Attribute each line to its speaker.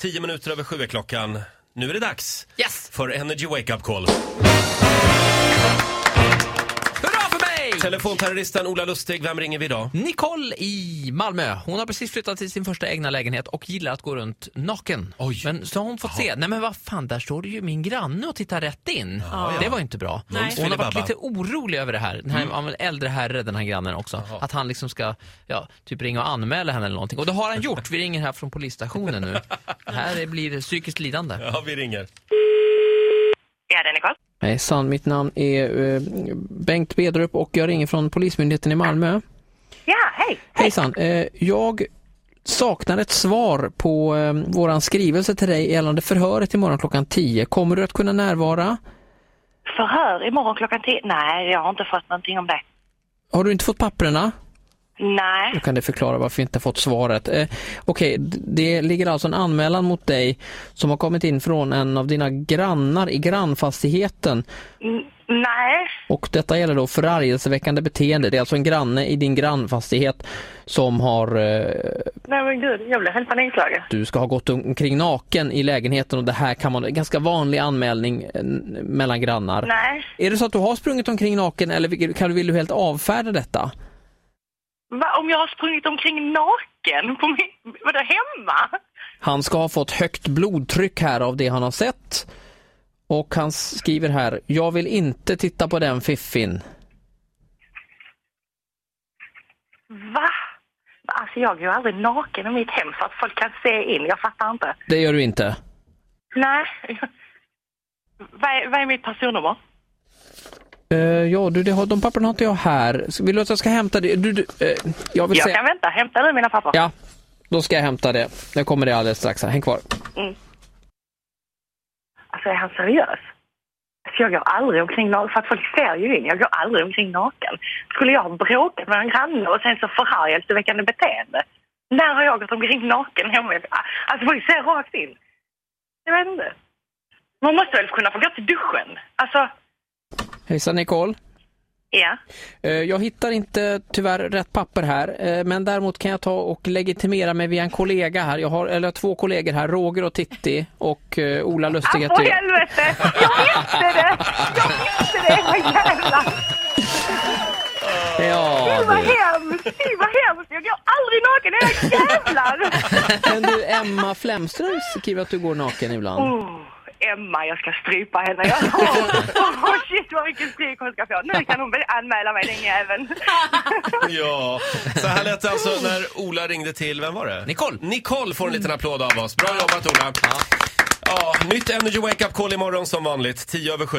Speaker 1: Tio minuter över sju är klockan. Nu är det dags
Speaker 2: Yes!
Speaker 1: för Energy Wake Up Call.
Speaker 2: Hurra för mig!
Speaker 1: Telefonterroristen Ola Lustig, vem ringer vi idag?
Speaker 2: Nicole i Malmö. Hon har precis flyttat till sin första egna lägenhet och gillar att gå runt naken.
Speaker 1: Oj.
Speaker 2: Men så har hon fått se, nej men vad fan, där står det ju min granne och tittar rätt in. Det var ju inte bra.
Speaker 3: Nej.
Speaker 2: Och Hon har varit
Speaker 1: Filibabba.
Speaker 2: lite orolig över det här. Den här mm. äldre herre, den här grannen också. Att han liksom ska, ja, typ ringa och anmäla henne eller någonting. Och det har han gjort. Vi ringer här från polisstationen nu. Det här blir psykiskt lidande.
Speaker 1: Ja, vi ringer.
Speaker 4: Ja, det är Nicole.
Speaker 5: Hejsan, mitt namn är eh, Bengt Bedrup och jag ringer från Polismyndigheten i Malmö.
Speaker 4: Ja, hej.
Speaker 5: Hejsan, eh, jag saknar ett svar på eh, våran skrivelse till dig gällande förhöret imorgon klockan 10. Kommer du att kunna närvara?
Speaker 4: Förhör imorgon klockan 10. Nej, jag har inte fått någonting om det.
Speaker 5: Har du inte fått papperna? Då
Speaker 4: Nej.
Speaker 5: kan det förklara varför vi inte fått svaret. Eh, Okej, d- det ligger alltså en anmälan mot dig som har kommit in från en av dina grannar i grannfastigheten.
Speaker 4: N- nej.
Speaker 5: Och detta gäller då förargelseväckande beteende. Det är alltså en granne i din grannfastighet som har eh,
Speaker 4: Nej men gud, jag blev helt panikslagen.
Speaker 5: du ska ha gått omkring naken i lägenheten och det här kan man, ganska vanlig anmälning eh, mellan grannar.
Speaker 4: Nej.
Speaker 5: Är det så att du har sprungit omkring naken eller vill- kan du, vill du helt avfärda detta?
Speaker 4: Va, om jag har sprungit omkring naken på min... Vadå, hemma?
Speaker 5: Han ska ha fått högt blodtryck här av det han har sett. Och han skriver här, jag vill inte titta på den fiffin.
Speaker 4: Va? Alltså jag går ju aldrig naken i mitt hem så att folk kan se in. Jag fattar inte.
Speaker 5: Det gör du inte.
Speaker 4: Nej. Vad är, vad är mitt personnummer?
Speaker 5: Eh, ja du, det har, de papperna har inte jag här. Vill du att jag ska hämta det? Du, du, eh, jag vill
Speaker 4: Jag
Speaker 5: säga...
Speaker 4: kan vänta. Hämtar du mina papper?
Speaker 5: Ja, då ska jag hämta det. Jag kommer det alldeles strax. Här. Häng kvar.
Speaker 4: Mm. Alltså är han seriös? Alltså, jag går aldrig omkring naken, för att folk ser ju in. Jag går aldrig omkring naken. Skulle jag ha bråkat med en granne och sen så förargelseväckande beteende? När har jag gått omkring naken hemma? Alltså folk ser rakt in. Jag vet inte. Man måste väl kunna få gå till duschen? Alltså,
Speaker 5: Hejsan Nicole.
Speaker 4: ja.
Speaker 5: Eh, Jag hittar inte tyvärr rätt papper här, eh, men däremot kan jag ta och legitimera mig via en kollega här. Jag har, eller jag har två kollegor här, Roger och Titti och eh, Ola
Speaker 4: Ah,
Speaker 5: Lustig.
Speaker 4: för
Speaker 5: heter jag.
Speaker 4: helvete! Jag visste det! Jag visste det! Vad jävlar!
Speaker 5: Ja,
Speaker 4: Gud vad hemskt! Gud vad hemskt! Jag går aldrig naken! Era jävlar!
Speaker 5: men du Emma Flemström skriver att du går naken ibland.
Speaker 4: Oh, Emma, jag ska strypa henne. Jag oh, oh, shit vad mycket stryk hon ska få. Nu kan hon väl anmäla mig den jäveln.
Speaker 1: Ja, så här lät det alltså när Ola ringde till, vem var det?
Speaker 2: Nicole.
Speaker 1: Nicole får en liten applåd av oss. Bra jobbat Ola. Ja. nytt Energy Wake Up Call imorgon som vanligt, 10 över 7.